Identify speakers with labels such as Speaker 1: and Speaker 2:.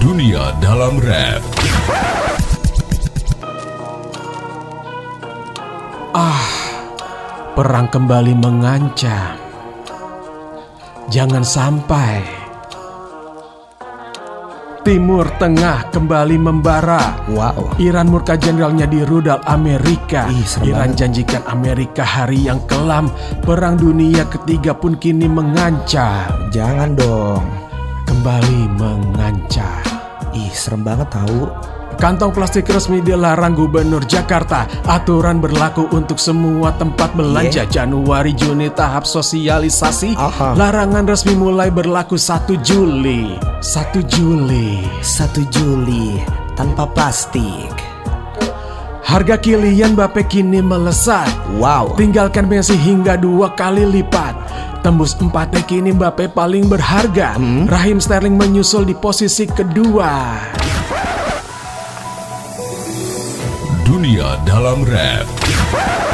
Speaker 1: Dunia Dalam Rap.
Speaker 2: Perang kembali mengancam. Jangan sampai Timur Tengah kembali membara.
Speaker 3: Wow.
Speaker 2: Iran murka jenderalnya di rudal Amerika.
Speaker 3: Ih, serem
Speaker 2: Iran
Speaker 3: banget.
Speaker 2: janjikan Amerika hari yang kelam. Perang dunia ketiga pun kini mengancam.
Speaker 3: Jangan dong.
Speaker 2: Kembali mengancam.
Speaker 3: Ih, serem banget tahu.
Speaker 2: Kantong plastik resmi dilarang Gubernur Jakarta. Aturan berlaku untuk semua tempat belanja. Januari Juni tahap sosialisasi.
Speaker 3: Iya. Aha.
Speaker 2: Larangan resmi mulai berlaku 1 Juli. 1 Juli.
Speaker 3: 1 Juli tanpa plastik.
Speaker 2: Harga kilian Bape kini melesat.
Speaker 3: Wow.
Speaker 2: Tinggalkan Messi hingga dua kali lipat. Tembus empatnya kini Mbappe paling berharga.
Speaker 3: Hmm?
Speaker 2: Rahim Sterling menyusul di posisi kedua.
Speaker 1: Dunia Dalam Rap.